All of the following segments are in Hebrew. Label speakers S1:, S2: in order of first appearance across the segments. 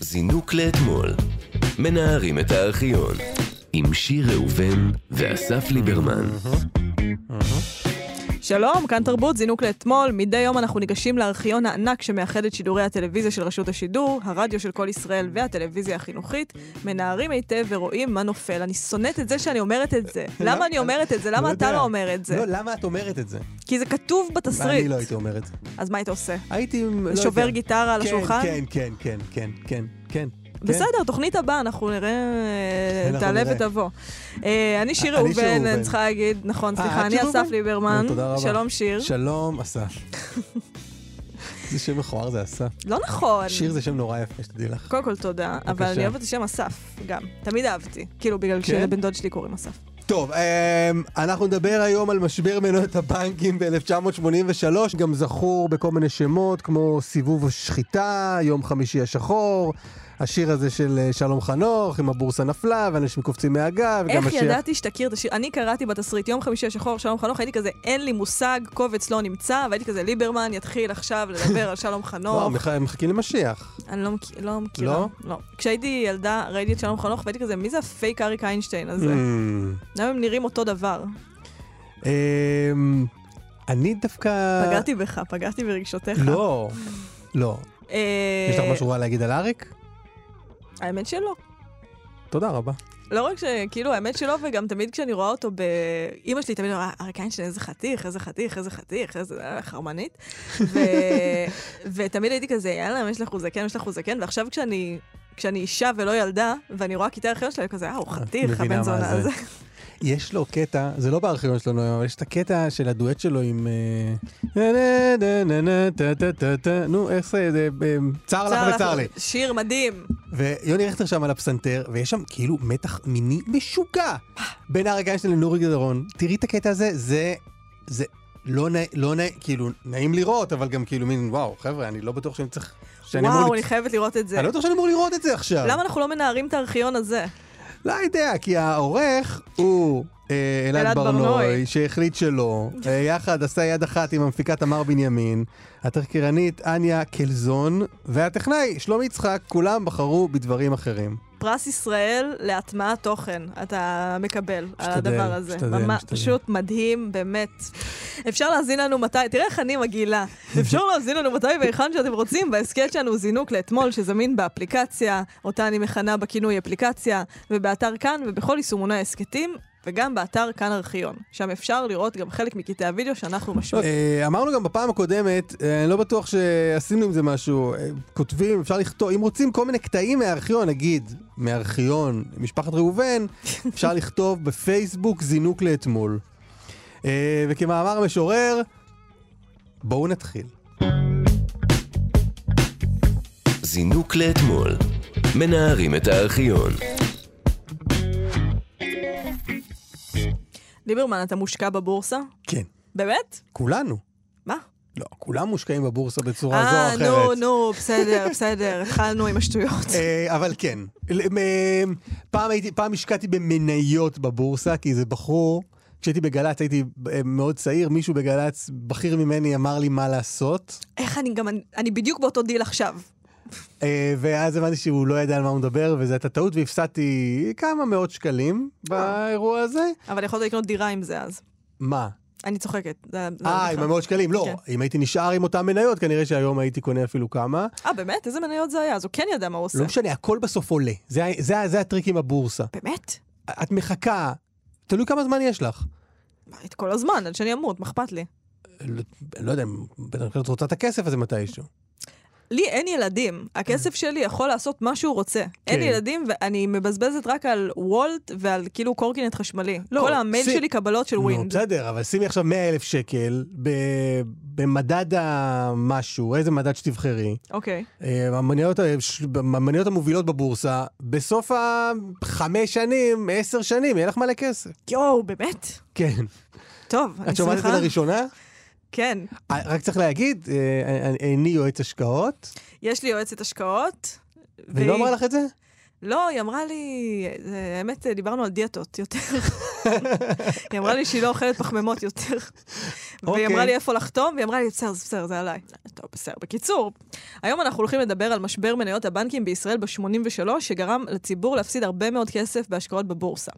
S1: זינוק לאתמול. מנערים את הארכיון. עם שיר ראובן ואסף ליברמן.
S2: שלום, כאן תרבות, זינוק לאתמול. מדי יום אנחנו ניגשים לארכיון הענק שמאחד את שידורי הטלוויזיה של רשות השידור, הרדיו של כל ישראל והטלוויזיה החינוכית, מנערים היטב ורואים מה נופל. אני שונאת את זה שאני אומרת את זה. למה אני אומרת את זה? למה אתה
S3: לא, יודע.
S2: לא אומר את זה?
S3: לא, למה את אומרת את זה?
S2: כי זה כתוב בתסריט.
S3: אני לא הייתי אומר את זה.
S2: אז מה היית עושה?
S3: הייתי... לא
S2: שובר
S3: יודע.
S2: גיטרה על
S3: כן,
S2: השולחן?
S3: כן, כן, כן, כן, כן, כן.
S2: בסדר, תוכנית הבאה, אנחנו נראה, אה,
S3: אנחנו
S2: תעלה
S3: נראה.
S2: ותבוא. אה, אני שיר
S3: אני שיר
S2: ראובן, אני
S3: ראובן.
S2: צריכה להגיד, נכון,
S3: אה,
S2: סליחה,
S3: את
S2: אני
S3: שיר
S2: אסף
S3: ראובן?
S2: ליברמן.
S3: אה, תודה רבה.
S2: שלום שיר.
S3: שלום, אסף. זה שם מכוער, זה אסף.
S2: לא נכון.
S3: שיר זה שם נורא יפה, שתדעי לך.
S2: קודם כל תודה, אבל
S3: בבקשה.
S2: אני אוהבת את השם אסף, גם. תמיד אהבתי. כאילו, בגלל
S3: כן?
S2: שלבן דוד שלי קוראים אסף.
S3: טוב, אמ, אנחנו נדבר היום על משבר מניות הבנקים ב-1983, גם זכור בכל מיני שמות, כמו סיבוב השחיטה, יום חמישי השחור, השיר הזה של אה, שלום חנוך, עם הבורסה נפלה, ואנשים קופצים מהגב, גם
S2: איך
S3: השיר...
S2: ידעתי שתכיר את השיר? אני קראתי בתסריט יום חמישי השחור, שלום חנוך, הייתי כזה, אין לי מושג, קובץ לא נמצא, והייתי כזה, ליברמן יתחיל עכשיו לדבר על שלום
S3: וואו,
S2: חנוך.
S3: מח- מחכים למשיח.
S2: אני לא מכי- לא מכירה.
S3: לא?
S2: לא. כשהייתי ילדה, ראיתי את שלום חנוך, והייתי כזה, מי זה הפייק אריק איינשטיין הזה?
S3: אמ,
S2: למה הם נראים אותו דבר?
S3: אמ, אני דווקא...
S2: פגעתי בך, פגעתי ברגשותיך.
S3: אה. לא, לא.
S2: אה,
S3: יש לך משהו רע להגיד על אריק?
S2: האמת שלא.
S3: תודה רבה.
S2: לא רק שכאילו, האמת שלא, וגם תמיד כשאני רואה אותו ב... אימא שלי תמיד אמרה, אריק איינשטיין, איזה חתיך, איזה חתיך, איזה חתיך, איזה אה, חרמנית. ו... ותמיד הייתי כזה, יאללה, יש לך הוא זקן, יש לך הוא זקן, ועכשיו כשאני... כשאני אישה ולא ילדה, ואני רואה כיתה אחרת שלה, אני כזה, אה, הוא חתיך,
S3: מבינה
S2: הבן
S3: מה
S2: זונה
S3: זה.
S2: הזה.
S3: יש לו קטע, זה לא בארכיון שלנו היום, אבל יש את הקטע של הדואט שלו עם... אה, נה, נה, נה, נה, טה, טה, טה, טה. נו, איך זה? זה, אה, צר לך וצר לי.
S2: שיר מדהים.
S3: ויוני רכטר שם על הפסנתר, ויש שם כאילו מתח מיני משוגע בין אריק איינשטיין לנורי גדרון. תראי את הקטע הזה, זה... זה לא נעים, לא נעים, כאילו, נעים לראות, אבל גם כאילו מין, וואו, חבר'ה, אני לא בטוח שאני צריך... שאני אמור
S2: וואו,
S3: לצ-
S2: אני חייבת לראות את זה.
S3: אני לא בטוח שאני אמור לראות את זה עכשיו.
S2: למה אנחנו לא מנערים את הארכיון הזה?
S3: לא יודע, כי העורך הוא אה,
S2: אלעד
S3: אלעד
S2: ברנוי.
S3: ברנוי, שהחליט שלא. אה, יחד עשה יד אחת עם המפיקה תמר בנימין, התחקירנית אניה קלזון, והטכנאי שלומי יצחק, כולם בחרו בדברים אחרים.
S2: פרס ישראל להטמעת תוכן אתה מקבל על
S3: משתדל,
S2: הדבר הזה.
S3: משתדל,
S2: ממש,
S3: משתדל.
S2: פשוט מדהים, באמת. אפשר להאזין לנו מתי, תראה איך אני מגעילה. אפשר להאזין לנו מתי והיכן שאתם רוצים, בהסכת שלנו זינוק לאתמול, שזמין באפליקציה, אותה אני מכנה בכינוי אפליקציה, ובאתר כאן ובכל יישומוני ההסכתים. וגם באתר כאן ארכיון, שם אפשר לראות גם חלק מקטעי הוידאו שאנחנו משמיעים.
S3: אה, אמרנו גם בפעם הקודמת, אה, אני לא בטוח שעשינו עם זה משהו. אה, כותבים, אפשר לכתוב, אם רוצים כל מיני קטעים מהארכיון, נגיד, מארכיון משפחת ראובן, אפשר לכתוב בפייסבוק זינוק לאתמול. אה, וכמאמר המשורר, בואו נתחיל.
S1: זינוק לאתמול. מנערים את הארכיון.
S2: ליברמן, אתה מושקע בבורסה?
S3: כן.
S2: באמת?
S3: כולנו.
S2: מה?
S3: לא, כולם מושקעים בבורסה בצורה זו או
S2: אה,
S3: אחרת.
S2: נו, נו, בסדר, בסדר, התחלנו עם השטויות.
S3: אה, אבל כן, ל- מ- פעם, הייתי, פעם השקעתי במניות בבורסה, כי איזה בחור, כשהייתי בגל"צ הייתי אה, מאוד צעיר, מישהו בגל"צ, בכיר ממני, אמר לי מה לעשות,
S2: איך אני גם, אני בדיוק באותו דיל עכשיו.
S3: אה, ואז הבנתי שהוא לא ידע על מה הוא מדבר, וזו הייתה טעות, והפסדתי כמה מאות שקלים באירוע הזה.
S2: אבל יכולת לקנות דירה עם זה אז.
S3: מה?
S2: אני צוחקת. זה- זה
S3: אה,
S2: בכלל.
S3: עם המאות שקלים? לא,
S2: כן.
S3: אם הייתי נשאר עם אותן מניות, כנראה שהיום הייתי קונה אפילו כמה.
S2: אה, באמת? איזה מניות זה היה? אז הוא כן ידע מה הוא עושה.
S3: לא משנה, הכל בסוף עולה. זה ה- זה ה- זה הטריק עם הבורסה.
S2: באמת?
S3: את מחכה, תלוי כמה זמן יש לך.
S2: מה, את כל הזמן, עד שאני אמות, מה אכפת לי?
S3: לא- אני לא יודע, אם בטח את רוצה את הכסף הזה מתישהו.
S2: לי אין ילדים, הכסף שלי יכול לעשות מה שהוא רוצה. אין
S3: כן.
S2: ילדים ואני מבזבזת רק על וולט ועל כאילו קורקינט חשמלי.
S3: לא,
S2: כל המייל
S3: סי-
S2: שלי קבלות של
S3: נו,
S2: ווינד.
S3: בסדר, אבל שימי עכשיו 100 אלף שקל ב- במדד המשהו, איזה מדד שתבחרי.
S2: אוקיי.
S3: אה, המניות, ה- ש- המניות המובילות בבורסה, בסוף החמש שנים, עשר שנים, יהיה לך מלא כסף.
S2: יואו, באמת?
S3: כן.
S2: טוב, אני
S3: את שומעת את זה
S2: שמחה.
S3: לראשונה?
S2: כן.
S3: אה, רק צריך להגיד, אה, אני- איני יועץ השקעות,
S2: יש לי יועצת השקעות.
S3: והיא לא אמרה לך את זה?
S2: לא, היא אמרה לי, זה- האמת, דיברנו על דיאטות יותר. היא אמרה לי שהיא לא אוכלת פחמימות יותר. והיא
S3: אוקיי.
S2: אמרה לי איפה לחתום, והיא אמרה לי, בסדר, זה בסדר, זה עליי. טוב, בסדר. בקיצור, היום אנחנו הולכים לדבר על משבר מניות הבנקים בישראל ב-83, שגרם לציבור להפסיד הרבה מאוד כסף בהשקעות בבורסה.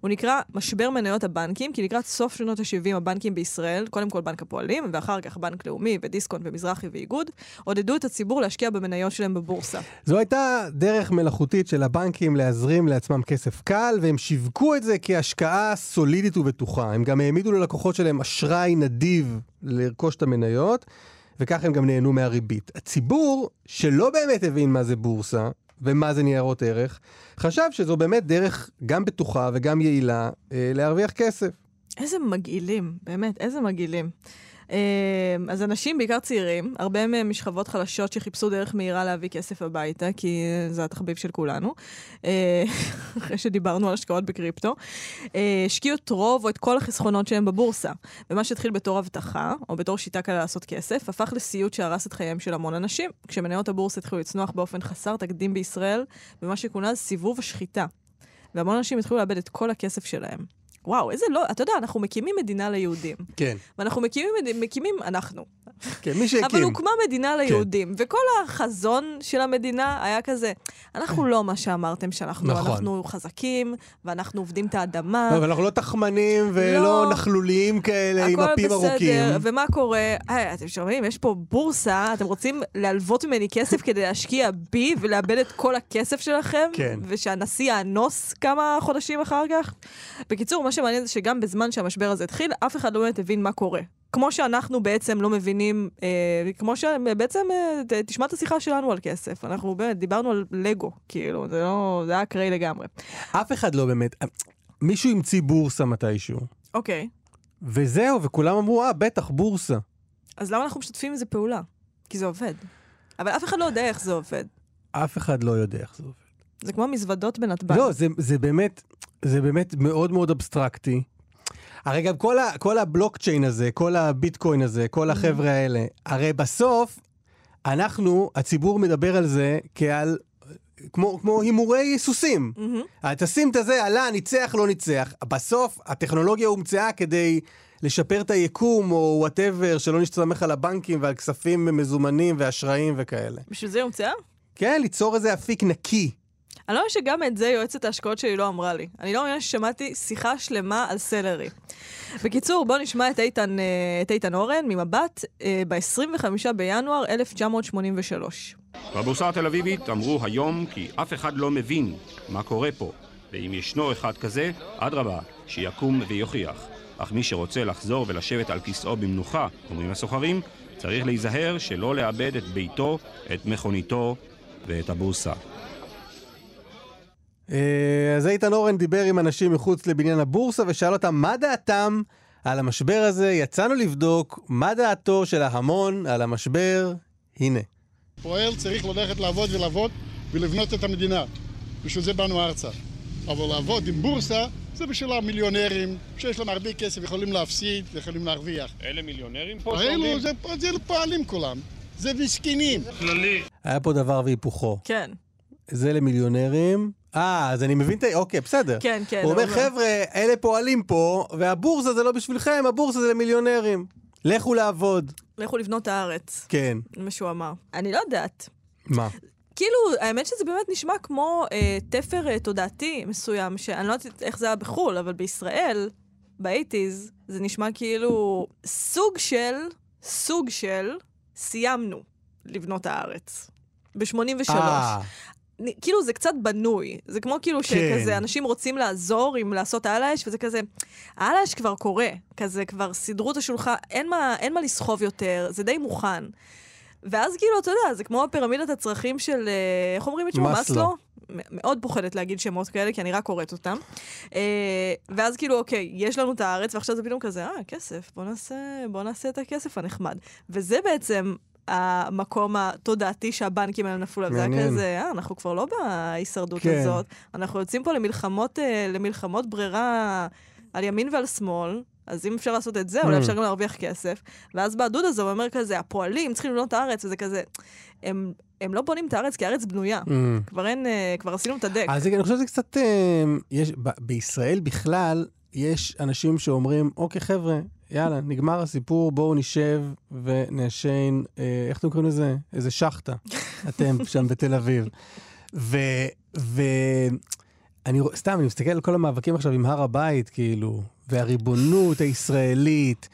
S2: הוא נקרא משבר מניות הבנקים, כי לקראת סוף שנות ה-70 הבנקים בישראל, קודם כל בנק הפועלים, ואחר כך בנק לאומי ודיסקונט ומזרחי ואיגוד, עודדו את הציבור להשקיע במניות שלהם בבורסה.
S3: זו הייתה דרך מלאכותית של הבנקים להזרים לעצמם כסף קל, והם שיווקו את זה כהשקעה סולידית ובטוחה. הם גם העמידו ללקוחות שלהם אשראי נדיב לרכוש את המניות, וכך הם גם נהנו מהריבית. הציבור, שלא באמת הבין מה זה בורסה ומה זה ניירות ערך, חשב שזו באמת דרך גם בטוחה וגם יעילה אה, להרוויח כסף.
S2: איזה מגעילים, באמת, איזה מגעילים. אה, אז אנשים, בעיקר צעירים, הרבה מהם משכבות חלשות שחיפשו דרך מהירה להביא כסף הביתה, כי אה, זה התחביב של כולנו, אה, אחרי שדיברנו על השקעות בקריפטו, אה, השקיעו את רוב או את כל החסכונות שלהם בבורסה. ומה שהתחיל בתור הבטחה, או בתור שיטה קלה לעשות כסף, הפך לסיוט שהרס את חייהם של המון אנשים, כשמניות הבורסה התחילו לצנוח באופן חסר תקדים בישראל, במה שכונה סיבוב השחיטה. והמון אנשים התחילו לאבד את כל הכסף שלהם. וואו, איזה לא, אתה יודע, אנחנו מקימים מדינה ליהודים.
S3: כן.
S2: ואנחנו מקימים, מד- מקימים אנחנו.
S3: כן, מי שהקים.
S2: אבל הוקמה מדינה
S3: כן.
S2: ליהודים, וכל החזון של המדינה היה כזה, אנחנו לא מה שאמרתם שאנחנו,
S3: נכון.
S2: אנחנו חזקים, ואנחנו עובדים את האדמה.
S3: לא, אבל אנחנו לא תחמנים ולא
S2: לא.
S3: נכלוליים כאלה עם
S2: הכל
S3: אפים ארוכים.
S2: בסדר, ומה קורה? היי, אתם שומעים? יש פה בורסה, אתם רוצים להלוות ממני כסף כדי להשקיע בי ולאבד את כל הכסף שלכם?
S3: כן.
S2: ושהנשיא יאנוס כמה חודשים אחר כך? בקיצור, מה שמעניין זה שגם בזמן שהמשבר הזה התחיל, אף אחד לא באמת הבין מה קורה. כמו שאנחנו בעצם לא מבינים, אה, כמו שבעצם, אה, ת- תשמע את השיחה שלנו על כסף. אנחנו באמת דיברנו על לגו, כאילו, זה לא, זה היה אקראי לגמרי.
S3: אף אחד לא באמת. מישהו המציא בורסה מתישהו.
S2: אוקיי,
S3: וזהו, וכולם אמרו, אה, בטח, בורסה.
S2: אז למה אנחנו משתפים עם זה פעולה? כי זה עובד. אבל אף אחד לא יודע איך זה עובד.
S3: אף אחד לא יודע איך זה עובד.
S2: זה כמו מזוודות בנתב"ג.
S3: לא, זה, זה באמת, זה באמת מאוד מאוד אבסטרקטי. הרי גם כל, ה, כל הבלוקצ'יין הזה, כל הביטקוין הזה, כל החבר'ה האלה, הרי בסוף, אנחנו, הציבור מדבר על זה כעל, כמו, כמו הימורי סוסים.
S2: מהמם.
S3: אה, תשים את הזה, עלה, ניצח, לא ניצח. בסוף, הטכנולוגיה הומצאה כדי לשפר את היקום, או וואטאבר, שלא נסתמך על הבנקים ועל כספים מזומנים ואשראים וכאלה.
S2: בשביל זה היא הומצאה?
S3: כן, ליצור איזה אפיק נקי.
S2: אני לא מאמינה שגם את זה יועצת ההשקעות שלי לא אמרה לי. אני לא מאמינה ששמעתי שיחה שלמה על סלרי. בקיצור, בואו נשמע את איתן, אה, את איתן אורן ממבט אה, ב-25 בינואר 1983.
S4: בבורסה התל אביבית אמרו היום כי אף אחד לא מבין מה קורה פה, ואם ישנו אחד כזה, אדרבה, שיקום ויוכיח. אך מי שרוצה לחזור ולשבת על כיסאו במנוחה, אומרים הסוחרים, צריך להיזהר שלא לאבד את ביתו, את מכוניתו ואת הבורסה.
S3: אה, אז איתן אורן דיבר עם אנשים מחוץ לבניין הבורסה ושאל אותם מה דעתם על המשבר הזה. יצאנו לבדוק מה דעתו של ההמון על המשבר. הנה.
S5: פועל צריך ללכת לעבוד ולעבוד ולבנות את המדינה. בשביל זה באנו ארצה. אבל לעבוד עם בורסה זה בשביל המיליונרים שיש להם הרבה כסף, יכולים להפסיד, יכולים להרוויח.
S4: אלה מיליונרים פה
S5: אלו זה, זה פועלים כולם, זה מסכנים.
S3: היה פה דבר והיפוכו.
S2: כן.
S3: זה למיליונרים. אה, אז אני מבין את ה... אוקיי, בסדר.
S2: כן, כן,
S3: הוא אומר,
S2: הוא אומר.
S3: חבר'ה, אלה פועלים פה, והבורסה זה לא בשבילכם, הבורסה זה למיליונרים. לכו לעבוד.
S2: לכו לבנות את הארץ,
S3: כן.
S2: זה מה שהוא אמר. אני לא יודעת.
S3: מה?
S2: כאילו, האמת שזה באמת נשמע כמו אה, תפר אה, תודעתי מסוים, שאני לא יודעת איך זה היה בחו"ל, אבל בישראל, באייטיז, זה נשמע כאילו סוג של, סוג של, סיימנו לבנות הארץ. ב-83.
S3: אה,
S2: נ- כאילו זה קצת בנוי, זה כמו
S3: כן.
S2: כאילו שכזה אנשים רוצים לעזור עם לעשות על האש, וזה כזה, על האש כבר קורה, כזה כבר סידרו את השולחן, אין מה, אין מה לסחוב יותר, זה די מוכן. ואז כאילו, אתה יודע, זה כמו פירמידת הצרכים של, אה, איך אומרים את שמו?
S3: מאסלו.
S2: מאסלו? מ- מאוד פוחדת להגיד שמות כאלה, כי אני רק קוראת אותם. אה, ואז כאילו, אוקיי, יש לנו את הארץ, ועכשיו זה פתאום כזה, אה, כסף, בוא נעשה, בוא נעשה את הכסף הנחמד. וזה בעצם המקום התודעתי שהבנקים האלה נפלו עליו. זה היה
S3: מעניין.
S2: כזה, אה, אנחנו כבר לא בהישרדות
S3: כן.
S2: הזאת, אנחנו יוצאים פה למלחמות, אה, למלחמות ברירה על ימין ועל שמאל. אז אם אפשר לעשות את זה, אולי
S3: Mm.
S2: אפשר גם להרוויח כסף. ואז בדוד הזה הוא אומר כזה, הפועלים צריכים לבנות את הארץ, וזה כזה, הם, הם לא בונים את הארץ כי הארץ בנויה.
S3: אמ.
S2: כבר אין, אה, כבר עשינו את הדק.
S3: אז אני חושב שזה קצת... אמ, אה, יש, ב- בישראל בכלל, יש אנשים שאומרים, אוקיי, חבר'ה, יאללה, נגמר הסיפור, בואו נשב ונעשן, אה, איך אתם קוראים לזה? איזה שחטה. אתם שם בתל אביב. ו... ו... אני רוא- סתם, אני מסתכל על כל המאבקים עכשיו עם הר הבית, כאילו, והריבונות הישראלית,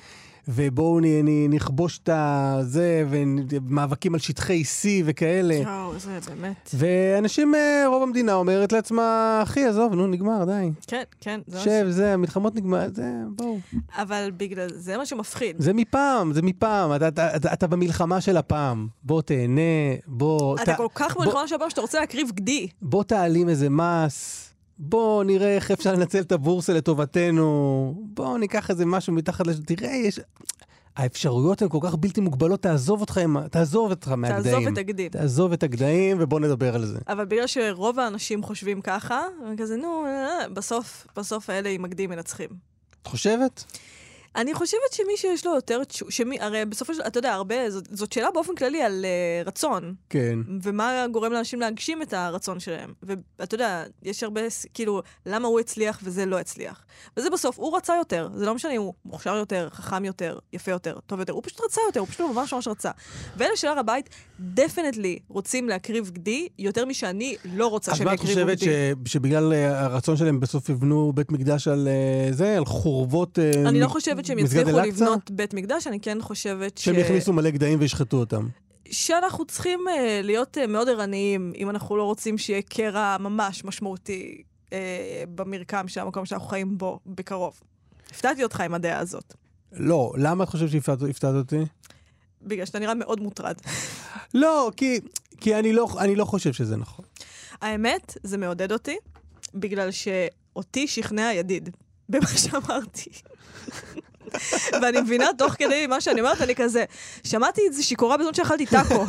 S3: ובואו נ- נ- נכבוש את הזה, ומאבקים על שטחי C וכאלה.
S2: וואו, זה באמת.
S3: ואנשים, אה, רוב המדינה אומרת לעצמה, אחי, עזוב, נו, נגמר, די.
S2: כן, כן, זה מה
S3: שב, זה, המלחמות נגמר, זה, בואו.
S2: ש... אבל בגלל זה מה שמפחיד.
S3: זה מפעם, זה מפעם, אתה, אתה, אתה, אתה במלחמה של הפעם. בוא תהנה, בוא...
S2: אתה
S3: ת-
S2: כל כך
S3: בוא,
S2: מלחמה שבא שאתה רוצה להקריב גדי.
S3: בוא תעלים איזה מס, בוא נראה איך אפשר לנצל את הבורסה לטובתנו, בוא ניקח איזה משהו מתחת לש... תראה, יש... האפשרויות הן כל כך בלתי מוגבלות, תעזוב אותך, עם- תעזוב אותך מהגדיים.
S2: תעזוב את הגדי.
S3: תעזוב את הגדיים ובוא נדבר על זה.
S2: אבל בגלל שרוב האנשים חושבים ככה, הם כזה, נו, אה, בסוף, בסוף האלה עם הגדי מנצחים.
S3: את חושבת?
S2: אני חושבת שמי שיש לו יותר תשו... שמי, הרי בסופו של אתה יודע, הרבה, זאת, זאת שאלה באופן כללי על uh, רצון,
S3: כן.
S2: ומה גורם לאנשים להגשים את הרצון שלהם. ואתה יודע, יש הרבה, ס- כאילו, למה הוא הצליח וזה לא הצליח. וזה בסוף, הוא רצה יותר. זה לא משנה אם הוא מוכשר יותר, חכם יותר, יפה יותר, טוב יותר. הוא פשוט רצה יותר, הוא פשוט ממש ממש רצה. ואלה של הר הבית, דפנטלי רוצים להקריב גדי יותר משאני לא רוצה
S3: אז
S2: שהם
S3: מה את
S2: יקריבו
S3: חושבת ש...
S2: גדי.
S3: שבגלל אה, הרצון שלהם בסוף יבנו בית מקדש על אה, זה, על חורבות אה,
S2: אני לא
S3: מ-
S2: חושבת שהם
S3: מסגד
S2: יצליחו
S3: אל-אקצא?
S2: לבנות בית מקדש, אני כן חושבת ש...
S3: שהם יכניסו מלא גדיים וישחטו אותם.
S2: שאנחנו צריכים uh, להיות uh, מאוד ערניים, אם אנחנו לא רוצים שיהיה קרע ממש משמעותי uh, במרקם של המקום שאנחנו חיים בו בקרוב. הפתעתי אותך עם הדעה הזאת,
S3: לא, למה את חושבת שהפתעת הפתעת אותי?
S2: בגלל שאתה נראה מאוד מוטרד.
S3: לא, כי, כי אני, לא, אני לא חושב שזה נכון.
S2: האמת, זה מעודד אותי, בגלל שאותי שכנע ידיד במה שאמרתי. ואני מבינה תוך כדי מה שאני אומרת, אני כזה, שמעתי את זה שיכורה בזמן שאכלתי טאקו.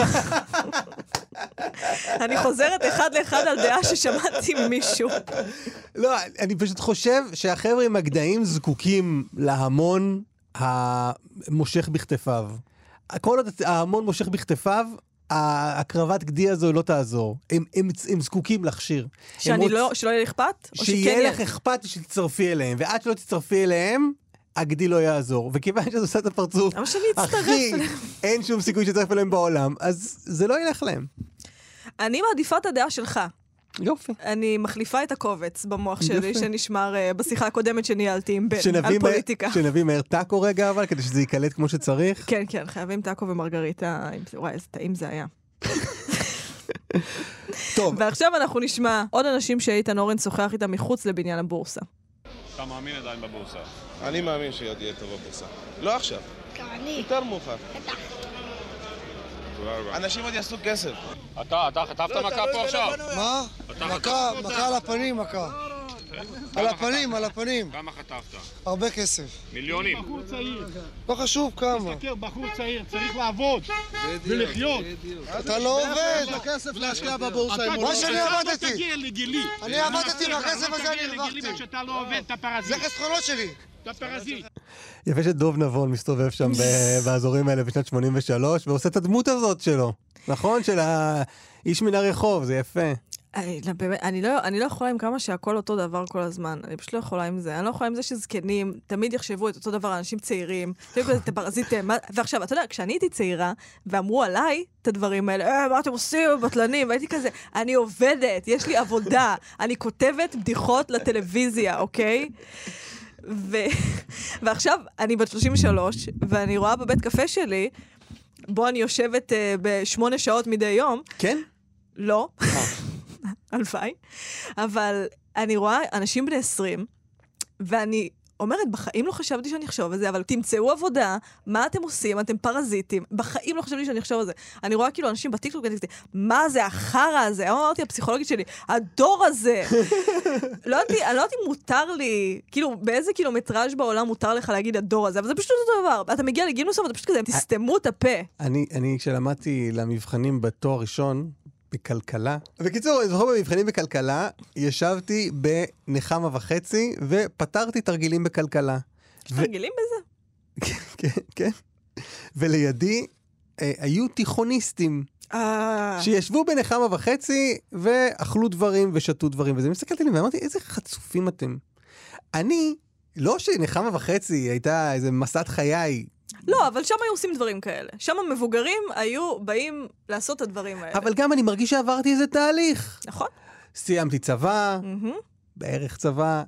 S2: אני חוזרת אחד לאחד על דעה ששמעתי ממישהו.
S3: לא, אני פשוט חושב שהחבר'ה עם הגדיים זקוקים להמון המושך בכתפיו. כל עוד ההמון מושך בכתפיו, הקרבת גדי הזו לא תעזור. הם, הם, הם זקוקים להכשיר. הם
S2: שאני
S3: רוצ-
S2: לא, שלא יהיה לי אכפת? או שכן
S3: שיהיה לך אכפת שתצטרפי אליהם, ועד שלא תצטרפי אליהם, הגדי לא יעזור. וכיוון שאת עושה את הפרצוף,
S2: למה שאני אצטרף
S3: אחי,
S2: אליהם?
S3: אין שום סיכוי שתצטרף אליהם בעולם, אז זה לא ילך להם.
S2: אני מעדיפה את הדעה שלך.
S3: יופי.
S2: אני מחליפה את הקובץ במוח שלי
S3: יפה.
S2: שנשמר אה, בשיחה הקודמת שניהלתי עם בן, על פוליטיקה.
S3: שנביא מהר טאקו רגע, אבל, כדי שזה ייקלט כמו שצריך.
S2: כן, כן, חייבים טאקו ומרגריטה. עם- וואי, איזה טעים זה היה.
S3: טוב,
S2: ועכשיו אנחנו נשמע עוד אנשים שאיתן אורן שוחח איתם מחוץ לבניין הבורסה.
S4: אתה מאמין עדיין בבורסה.
S6: אני מאמין שיד יהיה טוב בבורסה. לא עכשיו,
S7: אני,
S6: יותר מאוחר.
S7: בטח.
S6: אנשים עוד יעשו כסף.
S4: אתה, אתה חטפת מכה פה עכשיו.
S8: מה? מכה, מכה על הפנים, מכה. על הפנים, על הפנים.
S4: כמה חטפת?
S8: הרבה כסף.
S4: מיליונים.
S5: בחור צעיר,
S8: לא חשוב כמה.
S5: תכיר, בחור צעיר, צריך לעבוד ולחיות.
S8: אתה לא עובד.
S6: כסף להשקיע בבורסה
S5: אתה-
S8: מה שאני
S5: לא אתה
S8: עבדתי.
S5: תגיע לגילי.
S8: אני עבדתי,
S5: אתה
S8: מהכסף
S5: לא
S8: הזה אני
S5: תגיע לגילי
S8: הרווחתי.
S5: כשאתה לא עובד, אתה
S8: זה
S5: פרזיט.
S8: חסכונות שלי.
S5: אתה פרזיט.
S3: יפה שדוב נבון מסתובב שם ב- באזורים האלה בשנת 83, ועושה את הדמות הזאת שלו, נכון? של האיש מן הרחוב, זה יפה.
S2: אני לא- באמת, אני לא, אני לא יכולה עם כמה שהכל אותו דבר כל הזמן. אני פשוט לא יכולה עם זה. אני לא יכולה עם זה שזקנים תמיד יחשבו את אותו דבר על אנשים צעירים. תמיד כזה, אתם פרזיטים. מה-" ועכשיו, אתה יודע, כשאני הייתי צעירה, ואמרו עליי את הדברים האלה, אה, מה אתם עושים, בטלנים? והייתי כזה, אני עובדת, יש לי עבודה, אני כותבת בדיחות לטלוויזיה, אוקיי? ו... ועכשיו, אני בת 33, ואני רואה בבית קפה שלי, בו אני יושבת uh, בשמונה שעות מדי יום,
S3: כן?
S2: לא, הלוואי, אבל אני רואה אנשים בני 20, ואני אומרת, בחיים לא חשבתי שאני אחשוב על זה, אבל תמצאו עבודה, מה אתם עושים, אתם פרזיטים, בחיים לא חשבתי שאני אחשוב על זה. אני רואה כאילו אנשים בטיקטוק, ואני כזה, מה זה החרא הזה? היום אמרתי הפסיכולוגית שלי, הדור הזה. לא יודעת אני לא יודעת אם מותר לי, כאילו, באיזה קילומטראז' בעולם מותר לך להגיד הדור הזה, אבל זה פשוט אותו דבר. אתה מגיע לגיל מסוים, ואתה פשוט כזה, תסתמו את הפה.
S3: אני, אני, כשלמדתי למבחנים בתואר ראשון, בכלכלה. בקיצור, אני זוכר במבחנים בכלכלה, ישבתי בנחמה וחצי ופתרתי תרגילים בכלכלה. ו-
S2: רגילים בזה?
S3: כן, כן. ולידי אה, היו תיכוניסטים
S2: אה,
S3: שישבו בנחמה וחצי ואכלו דברים ושתו דברים וזה. מסתכלתי עליהם ואמרתי, איזה חצופים אתם. אני לא שנחמה וחצי הייתה איזה מסעת חיי,
S2: לא, אבל שם היו עושים דברים כאלה. שם המבוגרים היו באים לעשות את הדברים האלה.
S3: אבל גם אני מרגיש שעברתי איזה תהליך.
S2: נכון.
S3: סיימתי צבא,
S2: מהמם.
S3: בערך צבא,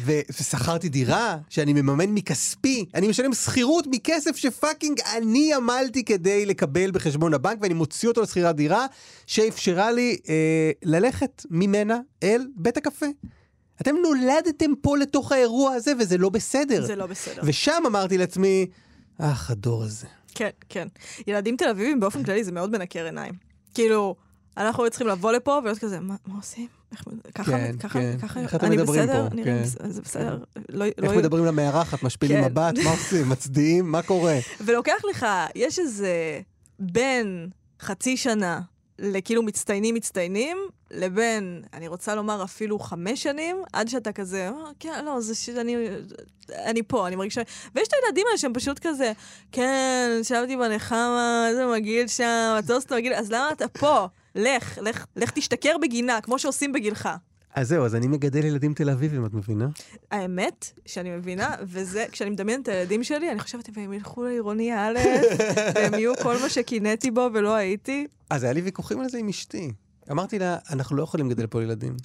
S3: ו- ושכרתי דירה שאני מממן מכספי, אני משלם שכירות מכסף שפאקינג אני עמלתי כדי לקבל בחשבון הבנק, ואני מוציא אותו לשכירת דירה, שאפשרה לי אה, ללכת ממנה אל בית הקפה. אתם נולדתם פה לתוך האירוע הזה, וזה לא בסדר.
S2: זה לא בסדר.
S3: ושם אמרתי לעצמי, אך, הדור הזה.
S2: כן, כן. ילדים תל אביבים באופן כללי זה מאוד מנקר עיניים. כאילו, אנחנו היו צריכים לבוא לפה ולהיות כזה, מה מה עושים? איך- ככה,
S3: כן,
S2: ככה,
S3: כן.
S2: ככה,
S3: איך אתם
S2: אני
S3: מדברים
S2: בסדר,
S3: פה?
S2: נראה לי
S3: כן.
S2: בסדר, זה בסדר. לא-
S3: איך
S2: לא-
S3: מדברים למארחת, משפילים
S2: כן.
S3: מבט, מה עושים, מצדיעים, מה קורה?
S2: ולוקח לך, יש איזה בין חצי שנה לכאילו מצטיינים מצטיינים, לבין, אני רוצה לומר אפילו חמש שנים, עד שאתה כזה, "אה, כן, לא, זה ש... אני, אני פה, אני מרגישה... ויש את הילדים האלה שהם פשוט כזה, כן, ישבתי בנחמה, איזה מגעיל שם, לא הטוסט מגעיל, אז למה אתה פה? לך, לך, לך תשתכר בגינה, כמו שעושים בגילך.
S3: אז זהו, אז אני מגדל ילדים תל אביבים, את מבינה?
S2: האמת שאני מבינה, וזה, כשאני מדמיינת את הילדים שלי, אני חושבת, והם ילכו לעירוני א', והם יהיו כל מה שקינאתי בו ולא הייתי.
S3: אז היה לי ויכוחים על זה עם אשתי. אמרתי לה, אנחנו לא יכולים לגדל פה ילדים.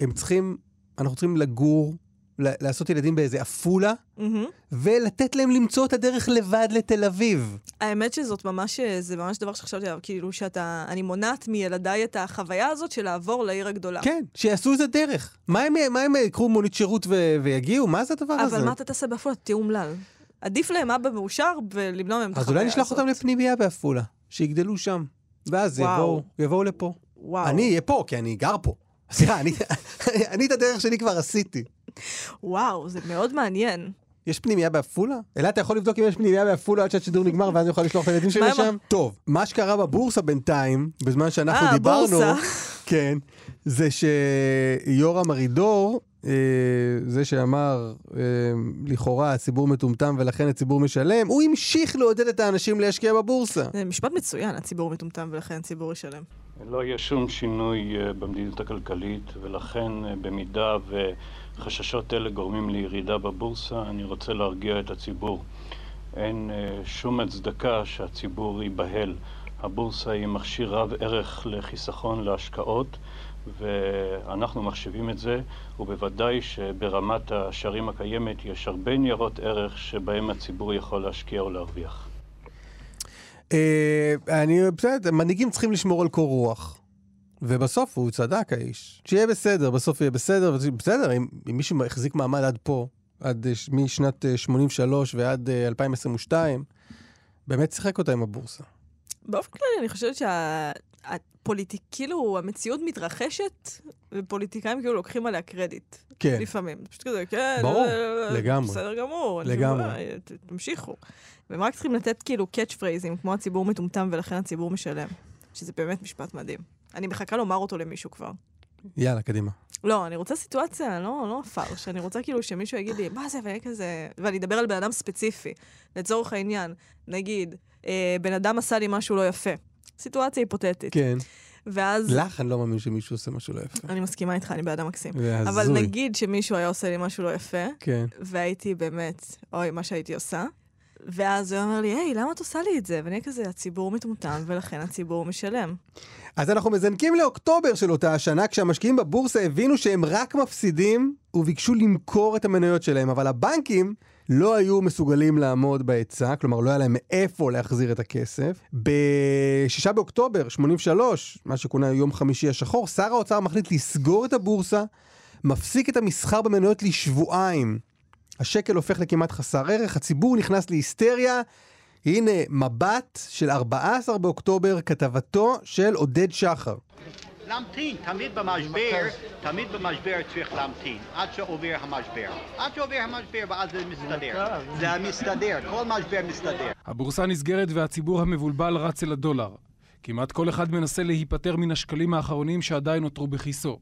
S3: הם צריכים, אנחנו צריכים לגור, ל- לעשות ילדים באיזה עפולה,
S2: מהמם.
S3: ולתת להם למצוא את הדרך לבד לתל אביב.
S2: האמת שזאת ממש, אה, זה ממש דבר שחשבתי עליו, כאילו שאתה, אני מונעת מילדיי את החוויה הזאת של לעבור לעיר הגדולה.
S3: כן, שיעשו איזה דרך. מה הם, מה הם יקחו מונית שירות ו- ויגיעו? מה זה הדבר הזה?
S2: אבל מה אתה תעשה בעפולה? תהיה אומלל. עדיף להם אבא מאושר ולמנוע מהם את החוויה
S3: אז
S2: הזאת.
S3: אולי נשלח אותם לפנימייה בעפולה, שיגדלו שם. ואז
S2: וואו.
S3: יבואו, יבואו לפה.
S2: וואו,
S3: אני אהיה פה, כי אני גר פה. סליחה, אני, אני את הדרך שלי כבר עשיתי.
S2: וואו, זה מאוד מעניין.
S3: יש פנימייה בעפולה? אלעד, אתה יכול לבדוק אם יש פנימייה בעפולה עד שהשידור נגמר ואז אני יכול לשלוח את הילדים שלי
S2: מה עם
S3: לשם? טוב, מה שקרה בבורסה בינתיים, בזמן שאנחנו
S2: אה,
S3: דיברנו,
S2: הבורסה.
S3: כן, זה שיורם ארידור, אה, זה שאמר, אה, לכאורה הציבור מטומטם ולכן הציבור משלם, הוא המשיך לעודד את האנשים להשקיע בבורסה.
S2: זה משפט מצוין, הציבור מטומטם ולכן הציבור ישלם.
S7: לא יהיה שום שינוי אה, במדיניות הכלכלית, ולכן אה, במידה וחששות אלה גורמים לירידה בבורסה, אני רוצה להרגיע את הציבור. אין אה, שום הצדקה שהציבור ייבהל. הבורסה היא מכשיר רב ערך לחיסכון להשקעות, ואנחנו מחשיבים את זה, ובוודאי שברמת השערים הקיימת יש הרבה ניירות ערך שבהם הציבור יכול להשקיע או להרוויח.
S3: אה, אני, בסדר, מנהיגים צריכים לשמור על קור רוח. ובסוף הוא צדק האיש. שיהיה בסדר, בסוף יהיה בסדר. וזה- בסדר, אם, אם מישהו החזיק מעמד עד פה, עד אה, ש- משנת אה, 83 ועד אה, 2022, באמת שיחק אותה עם הבורסה.
S2: באופן כללי, אני חושבת שהפוליטיק, כאילו, המציאות מתרחשת, ופוליטיקאים כאילו לוקחים עליה קרדיט.
S3: כן.
S2: לפעמים. זה פשוט כזה, כן,
S3: ברור,
S2: אה,
S3: לגמרי.
S2: בסדר גמור. אין שום
S3: לגמרי.
S2: בעיה, ת- תמשיכו. והם רק צריכים לתת כאילו קאץ' פרייזים, כמו הציבור מטומטם ולכן הציבור משלם. שזה באמת משפט מדהים. אני מחכה לומר אותו למישהו כבר.
S3: יאללה, קדימה.
S2: לא, אני רוצה סיטואציה, לא, לא פרש, אני רוצה כאילו שמישהו יגיד לי, מה זה, ואני כזה, ואני אדבר על בן אדם ספציפי. לצורך העניין, נגיד, אה, בן אדם עשה לי משהו לא יפה. סיטואציה היפותטית.
S3: כן.
S2: ואז...
S3: לך אני לא מאמין שמישהו עושה משהו לא יפה.
S2: אני מסכימה איתך, אני בן אדם מקסים.
S3: זה הזוי.
S2: אבל נגיד שמישהו היה עושה לי משהו לא יפה,
S3: כן.
S2: והייתי באמת, אוי, מה שהייתי עושה. ואז הוא אומר לי, היי, למה את עושה לי את זה? ואני אהיה כזה, הציבור מטומטם, ולכן הציבור משלם.
S3: אז אנחנו מזנקים לאוקטובר של אותה השנה, כשהמשקיעים בבורסה הבינו שהם רק מפסידים, וביקשו למכור את המניות שלהם, אבל הבנקים לא היו מסוגלים לעמוד בהיצע, כלומר לא היה להם מאיפה להחזיר את הכסף. ב-6 באוקטובר 83, מה שכונה יום חמישי השחור, שר האוצר מחליט לסגור את הבורסה, מפסיק את המסחר במניות לשבועיים. השקל הופך לכמעט חסר ערך, הציבור נכנס להיסטריה. הנה מבט של 14 באוקטובר, כתבתו של עודד שחר.
S9: להמתין, תמיד במשבר, תמיד במשבר צריך להמתין, עד שעובר המשבר. עד שעובר המשבר ואז זה מסתדר. זה מסתדר, כל משבר מסתדר.
S10: הבורסה נסגרת והציבור המבולבל רץ אל הדולר. כמעט כל אחד מנסה להיפטר מן השקלים האחרונים שעדיין נותרו בכיסו.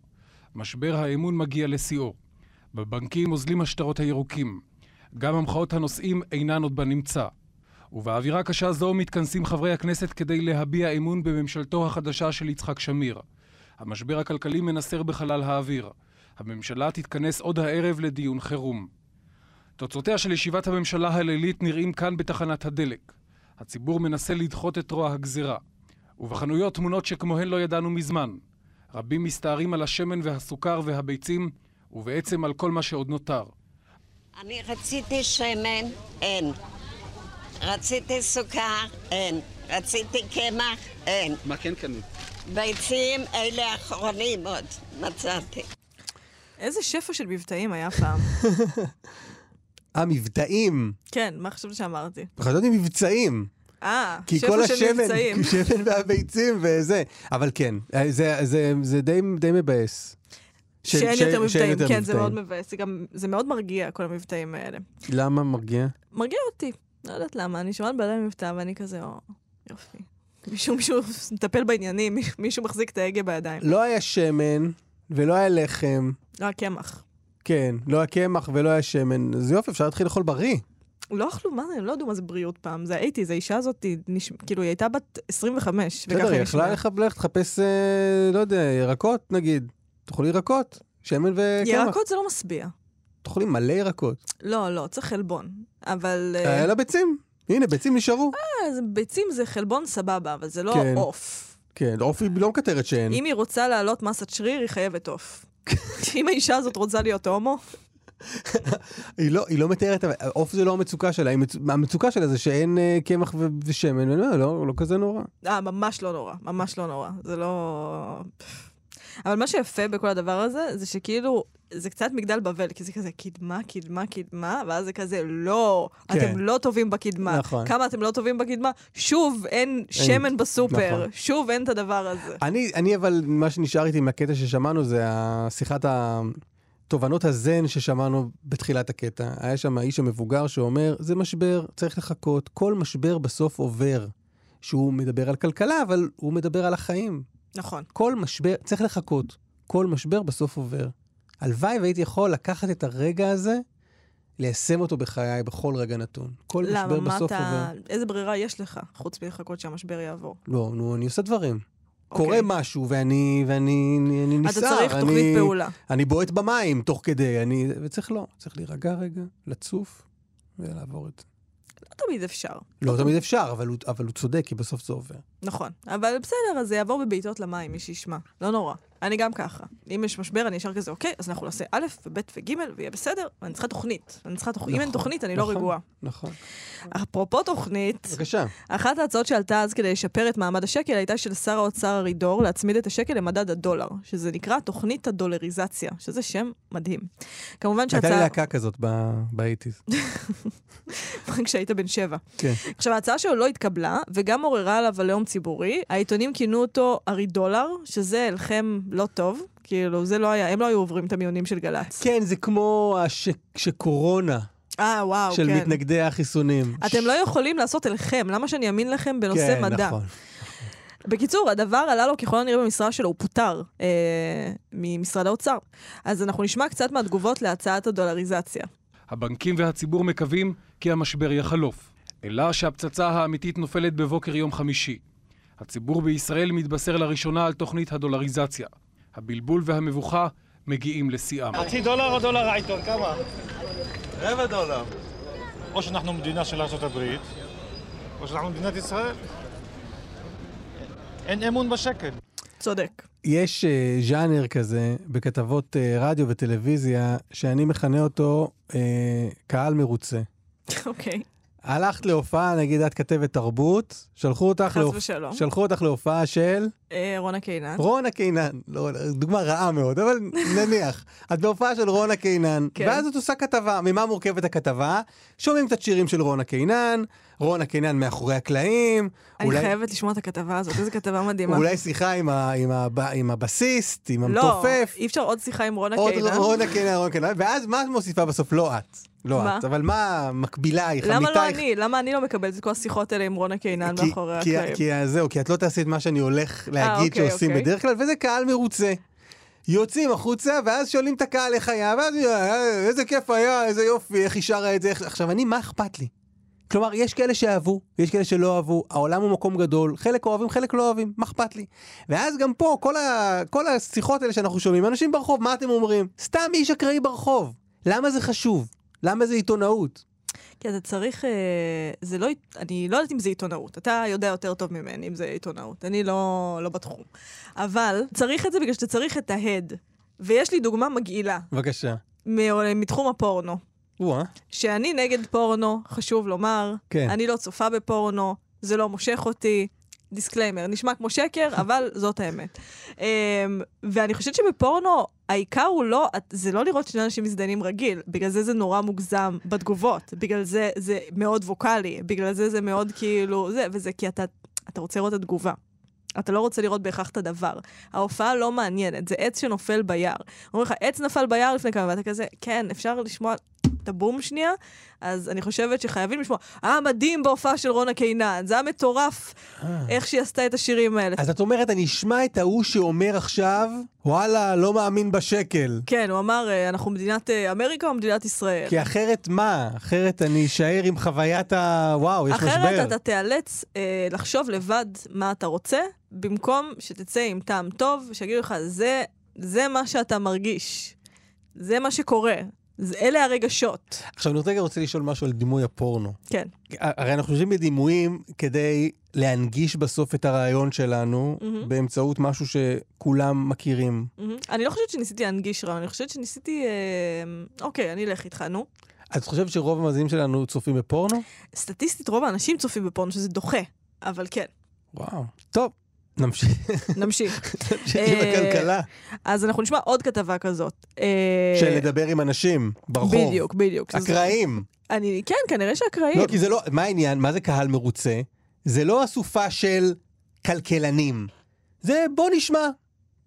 S10: משבר האמון מגיע לשיאו. בבנקים אוזלים השטרות הירוקים. גם המחאות הנוסעים אינן עוד בנמצא. ובאווירה קשה זו מתכנסים חברי הכנסת כדי להביע אמון בממשלתו החדשה של יצחק שמיר. המשבר הכלכלי מנסר בחלל האוויר. הממשלה תתכנס עוד הערב לדיון חירום. תוצאותיה של ישיבת הממשלה הלילית נראים כאן בתחנת הדלק. הציבור מנסה לדחות את רוע הגזירה. ובחנויות תמונות שכמוהן לא ידענו מזמן. רבים מסתערים על השמן והסוכר והביצים, ובעצם על כל מה שעוד נותר.
S11: אני רציתי שמן, אין. רציתי סוכר, אין. רציתי קמח, אין.
S12: מה כן קנית?
S11: ביצים, אלה האחרונים עוד מצאתי.
S2: איזה שפע של מבטאים היה פעם.
S3: אה, מבטאים.
S2: כן, מה חשבת שאמרתי?
S3: חשבתי מבצעים.
S2: אה,
S3: כי
S2: שפע
S3: כל
S2: של
S3: השמן,
S2: מבצעים.
S3: שמן והביצים וזה. אבל כן, אה, זה, זה, זה די, די מבאס. ש-
S2: שאין
S3: ש-
S2: יותר מבטאים,
S3: יותר
S2: כן, זה מאוד
S3: מבטאים.
S2: מבאס. זה גם- זה מאוד מרגיע, כל המבטאים האלה.
S3: למה מרגיע?
S2: מרגיע אותי, לא יודעת למה. אני שומעת בעלי מבטא ואני כזה, או, יופי. מישהו, מישהו מטפל בעניינים, מישהו מחזיק את ההגה בידיים.
S3: לא היה שמן ולא היה לחם.
S2: לא הקמח.
S3: כן, לא היה קמח ולא היה שמן. אז יופי, אפשר להתחיל לאכול בריא.
S2: לא אכלו, מה זה, הם לא ידעו מה זה בריאות פעם. זה הייתי, זה האישה הזאת, היא נש... כאילו, היא הייתה בת 25, וככה
S3: בסדר, היא
S2: היא
S3: יכלה
S2: נשמעה.
S3: לך ללכת לחפש, אה, לא יודע, ירקות נגיד. תאכלי ירקות, שמן וקמח.
S2: ירקות זה לא משביע.
S3: תאכלי מלא ירקות.
S2: לא, לא, צריך חלבון. אבל... אה,
S3: היה לה ביצים. הנה, ביצים נשארו.
S2: אה, זה- ביצים זה חלבון סבבה, אבל זה לא
S3: כן.
S2: עוף.
S3: כן, עוף היא לא מקטרת שאין.
S2: אם היא רוצה להעלות מסת שריר, היא חייבת עוף. אם האישה הזאת רוצה להיות הומו,
S3: היא לא, היא לא מתארת, אבל עוף זה לא המצוקה שלה, היא מצ... המצוקה שלה זה שאין אה, קמח ו... ושמן, ואני אומר, לא, לא כזה נורא.
S2: אה, ממש לא נורא, ממש לא נורא. זה לא... אבל מה שיפה בכל הדבר הזה, זה שכאילו, זה קצת מגדל בבל, כי זה כזה קדמה, קדמה, קדמה, ואז זה כזה, לא,
S13: כן.
S2: אתם לא טובים בקדמה.
S3: נכון.
S2: כמה אתם לא טובים בקדמה? שוב, אין שמן בסופר,
S3: נכון.
S2: שוב אין את הדבר הזה.
S3: אני, אני אבל, מה שנשאר איתי מהקטע ששמענו זה השיחת ה... תובנות הזן ששמענו בתחילת הקטע. היה שם האיש המבוגר שאומר, זה משבר, צריך לחכות, כל משבר בסוף עובר. שהוא מדבר על כלכלה, אבל הוא מדבר על החיים.
S2: נכון.
S3: כל משבר, צריך לחכות, כל משבר בסוף עובר. הלוואי והייתי יכול לקחת את הרגע הזה, ליישם אותו בחיי בכל רגע נתון. כל
S2: למה,
S3: משבר
S2: מה
S3: בסוף
S2: אתה...
S3: עובר.
S2: איזה ברירה יש לך, חוץ מלחכות שהמשבר יעבור?
S3: לא, נו, אני עושה דברים. קורה משהו, ואני, ואני אני, אני
S2: אוקיי. אתה
S3: נסער,
S2: צריך
S3: אני,
S2: תוכנית פעולה.
S3: אני בועט במים תוך כדי, אני... וצריך לא, צריך להירגע רגע, לצוף ולעבור את זה.
S2: לא תמיד אפשר.
S3: לא תמיד אפשר, אבל הוא, אבל הוא צודק, כי בסוף זה עובר.
S2: נכון, אבל בסדר, אז זה יעבור בבעיטות למים, מי שישמע. לא נורא. אני גם ככה. אם יש משבר, אני ישר כזה, אוקיי, אז אנחנו נעשה א' וב' וג' ויהיה בסדר, ואני צריכה תוכנית. אני צריכה תוכנית. אם אין
S3: נכון,
S2: תוכנית, אני לא
S3: נכון,
S2: רגועה.
S3: נכון.
S2: אפרופו תוכנית,
S3: בבקשה.
S2: אחת ההצעות שעלתה אז כדי לשפר את מעמד השקל הייתה של שר האוצר ארידור להצמיד את השקל למדד הדולר, שזה נקרא תוכנית הדולריזציה, שזה שם מדהים. כמובן
S3: הייתה לי
S2: שההצעה...
S3: להקה כזאת ב- באייטיז.
S2: כשהיית בן שבע.
S3: כן.
S2: עכשיו, ההצעה שלו לא התקבלה, וגם עוררה עליו עליהום ציבורי. העיתונים כינו אותו ארי דולר, שזה הלחם לא טוב. כאילו, זה לא היה, הם לא היו עוברים את המיונים של גל"צ.
S3: כן, זה כמו הש... שקורונה
S2: אה, וואו,
S3: של
S2: כן.
S3: מתנגדי החיסונים.
S2: אתם לא יכולים לעשות אליכם, למה שאני אאמין לכם בנושא
S3: כן,
S2: מדע?
S3: נכון.
S2: בקיצור, הדבר עלה לו ככל הנראה במשרה שלו, הוא פוטר אה, ממשרד האוצר. אז אנחנו נשמע קצת מהתגובות להצעת הדולריזציה.
S10: הבנקים והציבור מקווים כי המשבר יחלוף, אלא שהפצצה האמיתית נופלת בבוקר יום חמישי. הציבור בישראל מתבשר לראשונה על תוכנית הדולריזציה. הבלבול והמבוכה מגיעים לשיאם.
S14: חצי דולר או דולר העיתון? כמה? רבע דולר. או שאנחנו מדינה של ארה"ב, או שאנחנו מדינת ישראל. אין אמון בשקל.
S2: צודק.
S3: יש אה, ז'אנר כזה בכתבות אה, רדיו וטלוויזיה, שאני מכנה אותו אה, קהל מרוצה.
S2: אוקיי.
S3: הלכת להופעה, נגיד את כתבת תרבות, שלחו אותך,
S2: חס ושלום.
S3: שלחו אותך להופעה של
S2: אה, רונה קינן.
S3: רונה קינן, לא, דוגמה רעה מאוד, אבל נניח, את בהופעה של רונה קינן,
S2: כן.
S3: ואז את עושה כתבה, ממה מורכבת הכתבה? שומעים את השירים של רונה קינן, רונה קינן מאחורי הקלעים,
S2: אני חייבת לשמוע את הכתבה הזאת, איזו כתבה מדהימה.
S3: אולי שיחה עם, ה, עם, ה, עם הבסיסט, עם
S2: לא,
S3: המתופף.
S2: אי אפשר עוד שיחה עם רונה
S3: עוד לא,
S2: קינן.
S3: רונה קינן, רונה קינן, ואז מה את מוסיפה בסוף? לא את. לא
S2: מה?
S3: את, אבל מה מקבילייך,
S2: למה לא
S3: עמיתייך?
S2: אני? למה אני לא מקבלת את כל השיחות האלה עם רונה קינן
S3: כי-
S2: מאחורי
S3: כי-
S2: הקלעים?
S3: כי ה- זהו, כי את לא תעשי את מה שאני הולך להגיד
S2: אוקיי,
S3: שעושים
S2: אוקיי.
S3: בדרך כלל, וזה קהל מרוצה. יוצאים החוצה, ואז שואלים את הקהל איך היה, ואז "אה, איזה כיף היה, איזה יופי, איך היא שרה את זה. איך-" עכשיו, אני, מה אכפת לי? כלומר, יש כאלה שאהבו, יש כאלה שלא אהבו, העולם הוא מקום גדול, חלק אוהבים, חלק לא אוהבים, מה אכפת לי? ואז גם פה, כל, ה... כל השיחות האלה שאנחנו שומעים, אנשים ברחוב, מה אתם אומרים? סתם איש אקראי ברחוב. למה זה חשוב? למה זה עיתונאות?
S2: כי אתה צריך... אה, זה לא... עית- אני לא יודעת אם זה עיתונאות. אתה יודע יותר טוב ממני אם זה עיתונאות. אני לא, לא בתחום. אבל צריך את זה בגלל שאתה צריך את ההד. ויש לי דוגמה מגעילה
S3: בבקשה.
S2: מ- מתחום הפורנו.
S3: או-אה.
S2: שאני נגד פורנו, חשוב לומר.
S3: כן.
S2: אני לא צופה בפורנו, זה לא מושך אותי. דיסקליימר, נשמע כמו שקר, אבל זאת האמת. Um, ואני חושבת שבפורנו, העיקר הוא לא, את- זה לא לראות שני אנשים מזדיינים רגיל, בגלל זה זה נורא מוגזם בתגובות, בגלל זה זה מאוד ווקאלי, בגלל זה זה מאוד כאילו, זה, וזה כי אתה, אתה רוצה לראות את התגובה. אתה לא רוצה לראות בהכרח את הדבר. ההופעה לא מעניינת, זה עץ שנופל ביער. אומרים לך, עץ נפל ביער לפני כמה, ואתה כזה, כן, אפשר לשמוע את הבום שנייה? אז אני חושבת שחייבים לשמוע. אה, מדהים בהופעה של רונה קינן, זה היה מטורף איך שהיא עשתה את השירים האלה.
S3: אז את אומרת, אני אשמע את ההוא שאומר עכשיו, וואלה, לא מאמין בשקל.
S2: כן, הוא אמר, אה, אנחנו מדינת אה, אמריקה או מדינת ישראל?
S3: כי אחרת מה? אחרת אני אשאר עם חוויית ה... וואו, יש משבר.
S2: אחרת אתה תיאלץ אה, לחשוב לבד מה אתה רוצה, במקום שתצא עם טעם טוב, שיגידו לך, זה, זה מה שאתה מרגיש, זה מה שקורה, זה, אלה הרגשות.
S3: עכשיו, אני רגע רוצה לשאול משהו על דימוי הפורנו.
S2: כן.
S3: הרי אנחנו חושבים בדימויים כדי להנגיש בסוף את הרעיון שלנו
S2: מהמם.
S3: באמצעות משהו שכולם מכירים.
S2: מהמם. אני לא חושבת שניסיתי להנגיש רעיון, אני חושבת שניסיתי... אה, אוקיי, אני אלך איתך, נו.
S3: את חושבת שרוב המאזינים שלנו צופים בפורנו?
S2: סטטיסטית רוב האנשים צופים בפורנו, שזה דוחה, אבל כן.
S3: וואו. טוב, נמשיך.
S2: נמשיך.
S3: נמשיך עם
S2: אה,
S3: הכלכלה.
S2: אז אנחנו נשמע עוד כתבה כזאת. אה,
S3: של לדבר עם אנשים ברחוב.
S2: בדיוק, בדיוק. שזה-
S3: אקראיים.
S2: אני, כן, כנראה שאקראיים.
S3: לא, כי זה לא... מה העניין? מה זה קהל מרוצה? זה לא אסופה של כלכלנים. זה בוא נשמע.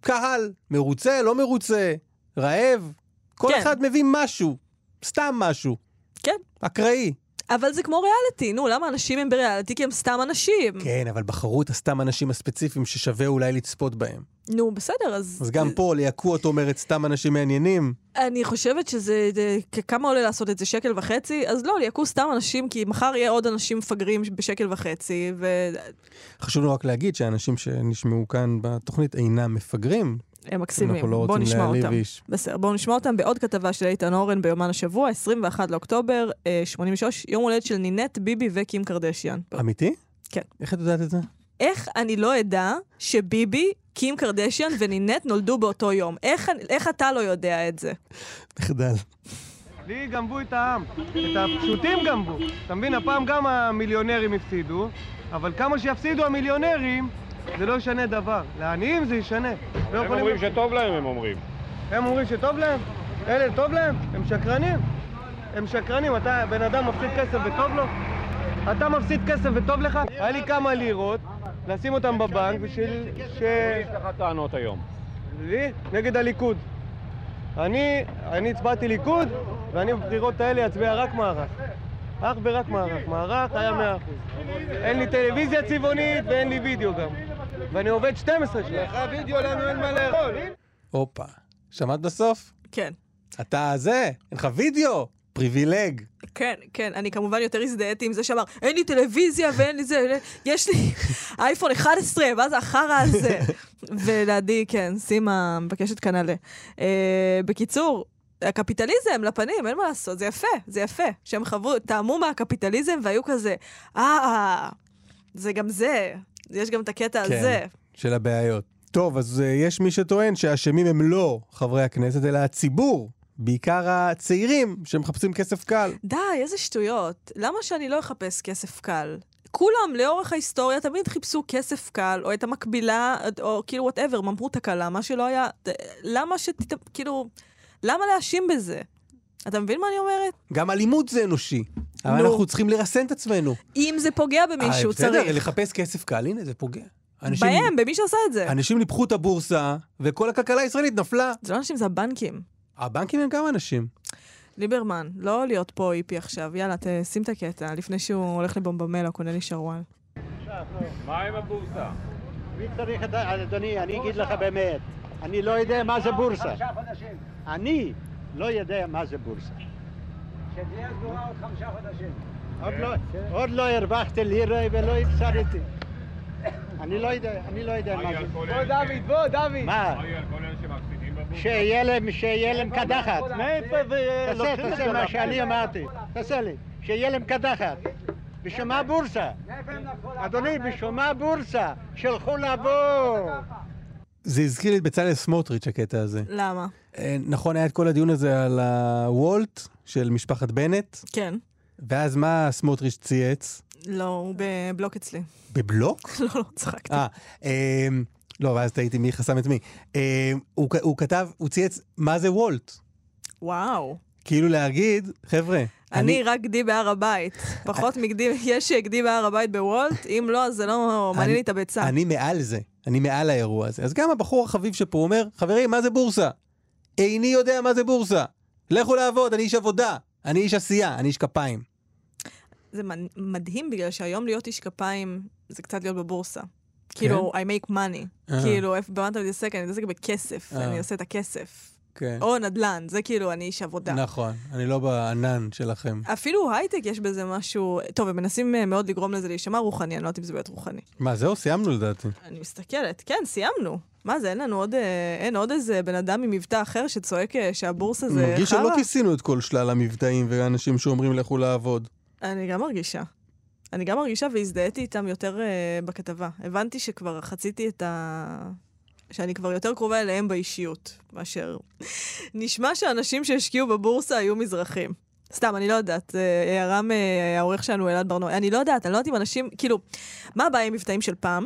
S3: קהל, מרוצה, לא מרוצה, רעב. כל
S2: כן.
S3: אחד מביא משהו. סתם משהו.
S2: כן.
S3: אקראי.
S2: אבל זה כמו ריאליטי, נו, למה אנשים הם בריאליטי? כי הם סתם אנשים.
S3: כן, אבל בחרו את הסתם אנשים הספציפיים ששווה אולי לצפות בהם.
S2: נו, בסדר, אז...
S3: אז גם פה, ליעקו את אומרת סתם אנשים מעניינים.
S2: אני חושבת שזה, זה- כ- כמה עולה לעשות את זה? שקל וחצי? אז לא, ליעקו סתם אנשים, כי מחר יהיה עוד אנשים מפגרים בשקל וחצי, והם
S3: חשוב לנו רק להגיד שהאנשים שנשמעו כאן בתוכנית אינם מפגרים.
S2: מקסימים.
S3: אנחנו לא
S2: בואו
S3: רוצים
S2: נשמע
S3: להעליב
S2: אותם.
S3: איש.
S2: בסדר, בואו נשמע אותם בעוד כתבה של איתן אורן ביומן השבוע, 21 לאוקטובר, אה, 83, יום הולדת של נינט, ביבי וקים קרדשיאן.
S3: אמיתי?
S2: כן.
S3: איך את יודעת את זה?
S2: איך אני לא אדע שביבי, קים קרדשיאן ונינט נולדו באותו יום? איך, אני- איך אתה לא יודע את זה?
S3: מחדל.
S12: לי גנבו את העם, את הפשוטים גנבו. אתה מבין, הפעם גם המיליונרים הפסידו, אבל כמה שיפסידו המיליונרים, זה לא ישנה דבר. לעניים זה ישנה. לא
S14: הם
S12: יכולים-
S14: אומרים שטוב להם, הם אומרים.
S12: הם אומרים שטוב להם? אלה, טוב להם? הם שקרנים. הם שקרנים. אתה, בן אדם מפסיד כסף וטוב לו? אתה מפסיד כסף וטוב לך? היה לי כמה לירות, לשים אותם בבנק בשביל ש...
S14: יש לך טענות היום.
S12: לי? נגד הליכוד. אני, אני הצבעתי ליכוד, ואני בבחירות האלה אצביע רק מערך. אך ורק מערך. מערך היה 100%. אין לי טלוויזיה צבעונית ואין לי וידאו גם. ואני עובד 12 שנים. לך וידאו לנו אין מה לאכול.
S3: הופה. שמעת בסוף?
S2: כן.
S3: אתה זה, אין לך וידאו, פריבילג.
S2: כן, כן, אני כמובן יותר הזדהיתי עם זה שאמר, אין לי טלוויזיה ואין לי זה, יש לי אייפון 11, מה זה החרא הזה? ולעדי, כן, סימה מבקשת כנ"לה. אה, בקיצור, הקפיטליזם לפנים, אין מה לעשות, זה יפה, זה יפה. שהם חוו, טעמו מהקפיטליזם והיו כזה, אה, זה גם זה, יש גם את הקטע הזה.
S3: של הבעיות. טוב, אז uh, יש מי שטוען שהאשמים הם לא חברי הכנסת, אלא הציבור, בעיקר הצעירים שמחפשים כסף קל.
S2: די, איזה שטויות. למה שאני לא אחפש כסף קל? כולם, לאורך ההיסטוריה, תמיד חיפשו כסף קל, או את המקבילה, או כאילו וואטאבר, ממרות הקלה, מה שלא היה... ת- למה שת... כאילו... למה להאשים בזה? אתה מבין מה אני אומרת?
S3: גם אלימות זה אנושי, אבל
S2: נו.
S3: אנחנו צריכים לרסן את עצמנו.
S2: אם זה פוגע
S3: אה,
S2: במישהו,
S3: בסדר,
S2: צריך.
S3: לחפש כסף קל, הנה, זה פוגע. אנשים-
S2: בהם, במי שעשה את זה.
S3: אנשים ניפחו את הבורסה, וכל הכלכלה הישראלית נפלה.
S2: זה לא אנשים, זה הבנקים.
S3: הבנקים הם גם אנשים.
S2: ליברמן, לא להיות פה איפי עכשיו. יאללה, תשים את הקטע, לפני שהוא הולך לבומבמל או קונה לי שרוואל.
S14: מה עם הבורסה?
S13: מי צריך את ה... אדוני, אני אגיד לך באמת, אני לא יודע מה זה בורסה. אני לא יודע מה זה בורסה.
S15: שתהיה סגורה עוד חמישה חודשים.
S13: עוד לא- עוד לא הרווחתי לירה ולא הפסדתי. אני לא יודע, אני לא יודע מה זה.
S14: בוא, דוד,
S13: בוא, דוד. מה?
S14: אריאל, כל אלה שמפסידים בבורסה.
S13: שיהיה להם, שיהיה להם קדחת.
S12: מאיפה
S13: תעשה,
S12: ולוקחים את
S13: תעשה
S12: הדולר?
S13: מה שאני אמרתי. תעשה לי. שיהיה להם קדחת. בשביל מה בורסה? אדוני, בשביל מה בורסה? שילכו לבור.
S3: זה הזכיר לי את בצלאל סמוטריץ', הקטע הזה.
S2: למה?
S3: אה, נכון, היה את כל הדיון הזה על הוולט של משפחת בנט,
S2: כן.
S3: ואז מה סמוטריץ' צייץ?
S2: לא, הוא בבלוק אצלי.
S3: בבלוק?
S2: לא, לא, צחקתי.
S3: אה, אמ, לא, ואז תהיתי מי חסם את מי. אמ, הוא כ- הוא כתב, הוא צייץ, מה זה וולט?
S2: וואו.
S3: כאילו להגיד, חבר'ה,
S2: אני רק גדי בהר הבית. פחות מגדי, יש גדי בהר הבית בוולט, אם לא, אז זה לא מעניין לי את הביצה.
S3: אני מעל זה, אני מעל האירוע הזה. אז גם הבחור החביב שפה אומר, חברים, מה זה בורסה? איני יודע מה זה בורסה. לכו לעבוד, אני איש עבודה, אני איש עשייה, אני איש כפיים.
S2: זה מנ- מדהים בגלל שהיום להיות איש כפיים זה קצת להיות בבורסה. כאילו, I make money.
S3: כן? אה.
S2: כאילו, איפה- במה אתה מתעסק? אני מתעסק בכסף,
S3: אה.
S2: אני עושה את הכסף.
S3: כן.
S2: או נדל"ן, זה כאילו, אני איש עבודה.
S3: נכון, אני לא בענן שלכם.
S2: אפילו הייטק יש בזה משהו, טוב, הם מנסים אה, מאוד לגרום לזה להישמע רוחני, אני לא יודעת אם זה באמת רוחני.
S3: מה, זהו? סיימנו לדעתי.
S2: אני מסתכלת, כן, סיימנו. מה זה, אין לנו עוד, אה, אין עוד איזה בן אדם עם מבטא אחר שצועק אה, שהבורסה זה
S3: מרגיש שלא
S2: חרא?
S3: כיסינו את כל שלל המבטאים והאנשים שאומרים לכו לעבוד.
S2: אני גם מרגישה. אני גם מרגישה והזדהיתי איתם יותר אה, בכתבה. הבנתי שכבר חציתי את ה... שאני כבר יותר קרובה אליהם באישיות, מאשר... נשמע שאנשים שהשקיעו בבורסה היו מזרחים. סתם, אני לא יודעת. אה, הערה מהעורך שלנו, אלעד ברנועי. אני לא יודעת, אני לא יודעת אם אנשים... כאילו, מה הבעיה עם מבטאים של פעם?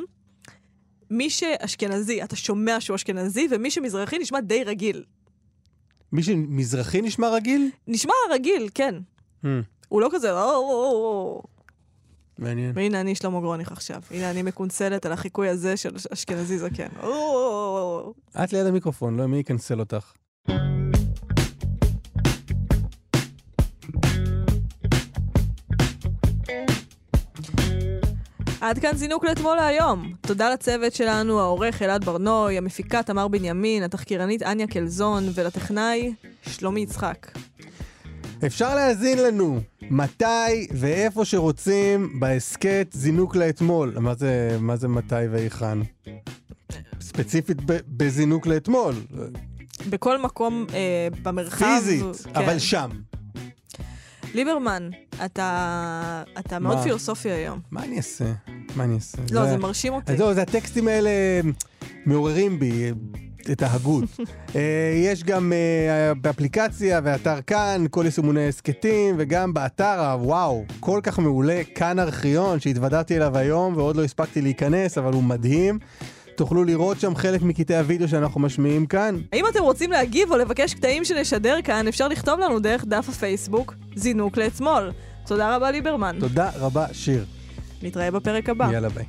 S2: מי שאשכנזי, אתה שומע שהוא אשכנזי, ומי שמזרחי נשמע די רגיל.
S3: מי שמזרחי נשמע רגיל?
S2: נשמע רגיל, כן.
S3: Hmm,
S2: הוא לא כזה, "או, או, או, או,
S3: מעניין.
S2: והנה אני שלמה גרוניך עכשיו. הנה אני מקונסלת על החיקוי הזה של אשכנזי זקן. או, או, או,
S3: את ליד המיקרופון, לא, מי יקנסל אותך?
S2: או. עד כאן זינוק לאתמול להיום. תודה לצוות שלנו, העורך אלעד ברנוי, המפיקה תמר בנימין, התחקירנית אניה קלזון, ולטכנאי שלומי יצחק.
S3: אפשר להאזין לנו מתי ואיפה שרוצים בהסכת זינוק לאתמול. מה זה, מה זה מתי והיכן? ספציפית ב- בזינוק לאתמול.
S2: בכל מקום אה, במרחב.
S3: פיזית,
S2: כן.
S3: אבל שם.
S2: ליברמן, אתה, אתה מאוד
S3: מה?
S2: פילוסופי היום.
S3: מה אני אעשה? מה אני אעשה?
S2: לא, זה מרשים אותי.
S3: אז זהו, זה הטקסטים האלה מעוררים בי את ההגות. אה, יש גם אה, באפליקציה ואתר כאן, כל יישומוני הסכתים, וגם באתר הוואו, כל כך מעולה, כאן ארכיון, שהתוודעתי אליו היום ועוד לא הספקתי להיכנס, אבל הוא מדהים. תוכלו לראות שם חלק מקטעי הוידאו שאנחנו משמיעים כאן.
S2: אם אתם רוצים להגיב או לבקש קטעים שנשדר כאן, אפשר לכתוב לנו דרך דף הפייסבוק זינוק לאתמול. תודה רבה ליברמן.
S3: תודה רבה, שיר.
S2: נתראה בפרק הבא.
S3: יאללה ביי.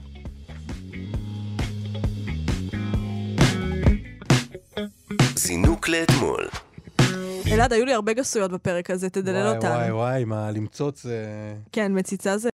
S1: זינוק לאתמול.
S2: אלעד, היו לי הרבה גסויות בפרק הזה, תדלל
S3: וואי
S2: אותנו.
S3: וואי וואי, מה, למצוץ אה, זה...
S2: כן, מציצה זה